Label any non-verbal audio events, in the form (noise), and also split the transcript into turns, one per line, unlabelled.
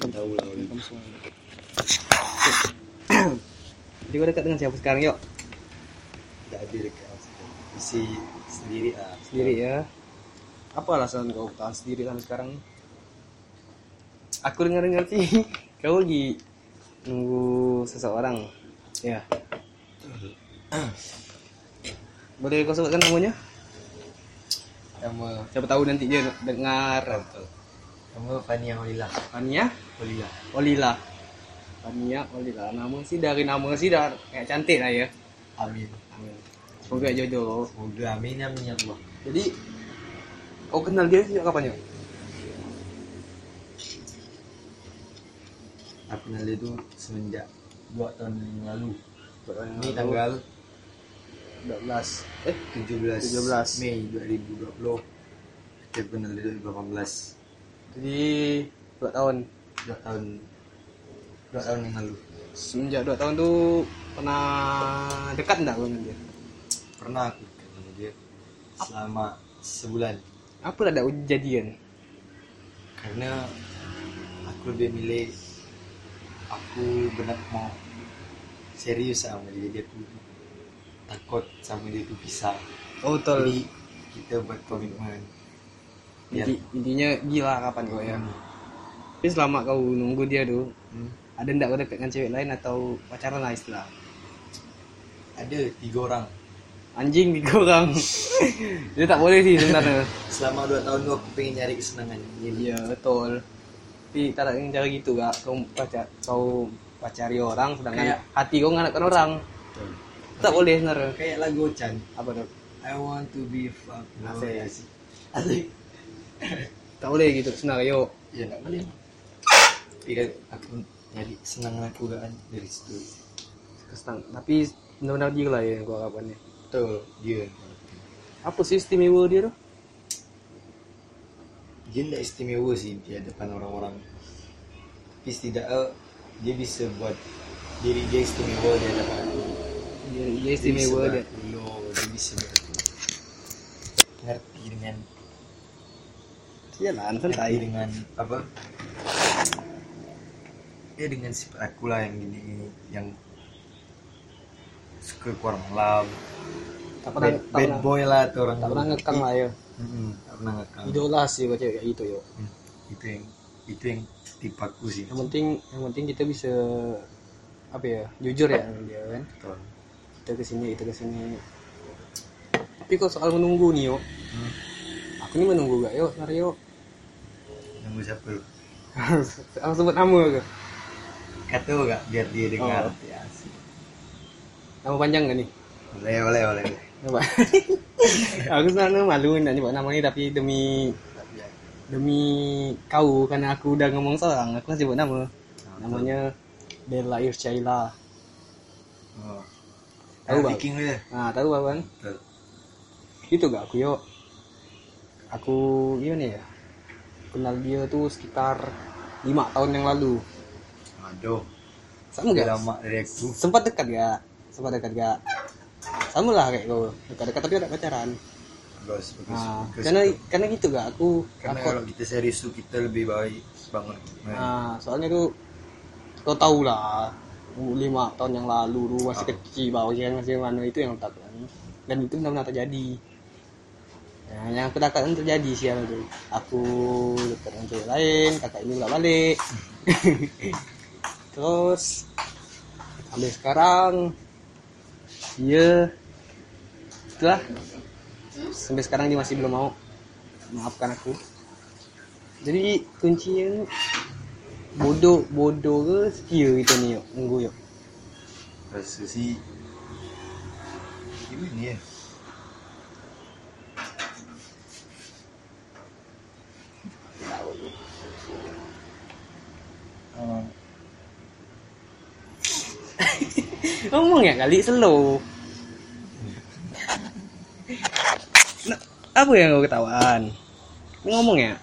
Welcome. Jadi gue dekat dengan siapa sekarang yuk?
Tidak ada dekat Isi sendiri ah.
Sendiri ya.
Apa alasan kau tahan sendiri sampai sekarang?
Aku dengar-dengar sih (laughs) kau lagi nunggu seseorang. Ya. Boleh kau sebutkan namanya?
Nama
Siapa tahu nanti dia dengar.
Ranto. Nama Fania Olila.
Fania
Olila.
Olila. Fania Olila. Nama sih dari nama sih dah kayak cantik lah ya.
Amin.
Semoga jodoh.
Semoga amin amin ya Allah.
Jadi kau kenal dia sejak kapan ya?
Aku kenal dia tu semenjak 2 tahun yang lalu. Ini tanggal
12. Eh,
17,
17.
Mei 2020. Kita kenal dia 2018.
jadi 2 tahun.
2 tahun 2 tahun yang lalu.
Semenjak 2 tahun tuh pernah dekat enggak kau dengan dia?
Pernah aku kenal dia selama sebulan.
Apa dah ada jadian?
karena aku lebih milih aku benar mau serius sama dia jadi aku takut sama dia tu pisah
Oh,
jadi kita buat komitmen ya
Inti, intinya gila kapan kau ya.
Hmm.
Tapi selama kau nunggu dia tuh,
Hmm.
ada enggak kau dekat dengan cewek lain atau pacaran lah istilah?
ada tiga orang
Anjing tiga
(laughs)
orang. dia tak boleh sih sebenarnya.
selama dua tahun tu aku pengen nyari kesenangan jadi
Iya betul. Tapi tak ada yang cara gitu gak. Kau pacar, kau pacari orang, sedangkan
Kayak-
hati kau nganakkan orang. Tak boleh sebenarnya.
kayak lagu Chan
Apa tuh?
I want to be fucked
Asik.
asik asik
Tak boleh gitu senario.
ya nggak boleh tidak aku nyari kesenangan aku kan dari situ
Kesenang. Tapi benar-benar gila ya yang gua harapannya.
betul dia
Apa sih istimewa dia tuh?
dia tidak istimewa sih di hadapan orang-orang tapi setidaknya dia bisa buat diri dia istimewa di hadapan aku
Dia, dia
Dia bisa
istimewa dia.
bergulu, dia bisa buat aku ngerti dengan
Jalan
ngerti
santai.
dengan apa ya dengan sifat aku lah yang gini gini yang suka keluar malam
Tak pernah,
bad,
tak
bad
pernah,
boy lah tuh orang
tak pernah ngekang lah ya.
Mm-mm, tak pernah ngekang
Idola lah sih baca kayak gitu yo.
Hmm, itu yang itu yang tipe aku sih
Yang penting, yang penting kita bisa apa ya jujur ya sama dia kan.
Betul.
kita ke sini kita ke sini tapi kok soal menunggu nih yo
Hmm.
aku ini menunggu gak yo sebenarnya yo
Nunggu siapa lu?
(laughs) aku sebut nama ke
Kata lu gak biar dia dengar?
Oh.
Ya,
nama panjang gak nih
boleh, boleh, boleh. boleh.
coba (laughs) aku sebenarnya malu nak nyebut nama ini tapi demi demi kau karena aku udah ngomong seorang aku masih sebut nama namanya Bella Ircaila
Oh.
Tahu,
Tahu
Bang?
Viking lu ya?
nah Ha, tahu bang
Betul.
itu gak aku yo aku gimana ya kenal dia tuh sekitar lima tahun yang lalu
Aduh,
sama
udah
gak
lama dari aku.
sempat dekat gak sempat dekat gak sama lah kayak gue dekat-dekat tapi ada pacaran
Bagus, bagus.
nah,
bagus.
karena karena Ah, gitu gak aku
karena
aku
kalau kita serius tuh kita lebih baik bangun. Nah,
nah, Ah, soalnya tuh kau tahu lah lima tahun yang lalu lu masih
Apa?
kecil bau kan masih mana itu yang tak kan dan itu benar-benar terjadi nah, yang kedekatan terjadi sih yang itu aku dekat dengan cewek lain kakak ini bolak balik (laughs) terus sampai sekarang dia itulah sampai sekarang dia masih belum mau maafkan aku jadi kuncinya bodoh bodoh ke setia kita ni yuk nunggu yuk
rasa sih gimana ya?
Ah.
Eh,
ngomong ya kali slow Nah, apa yang kau ketawaan ngomong ya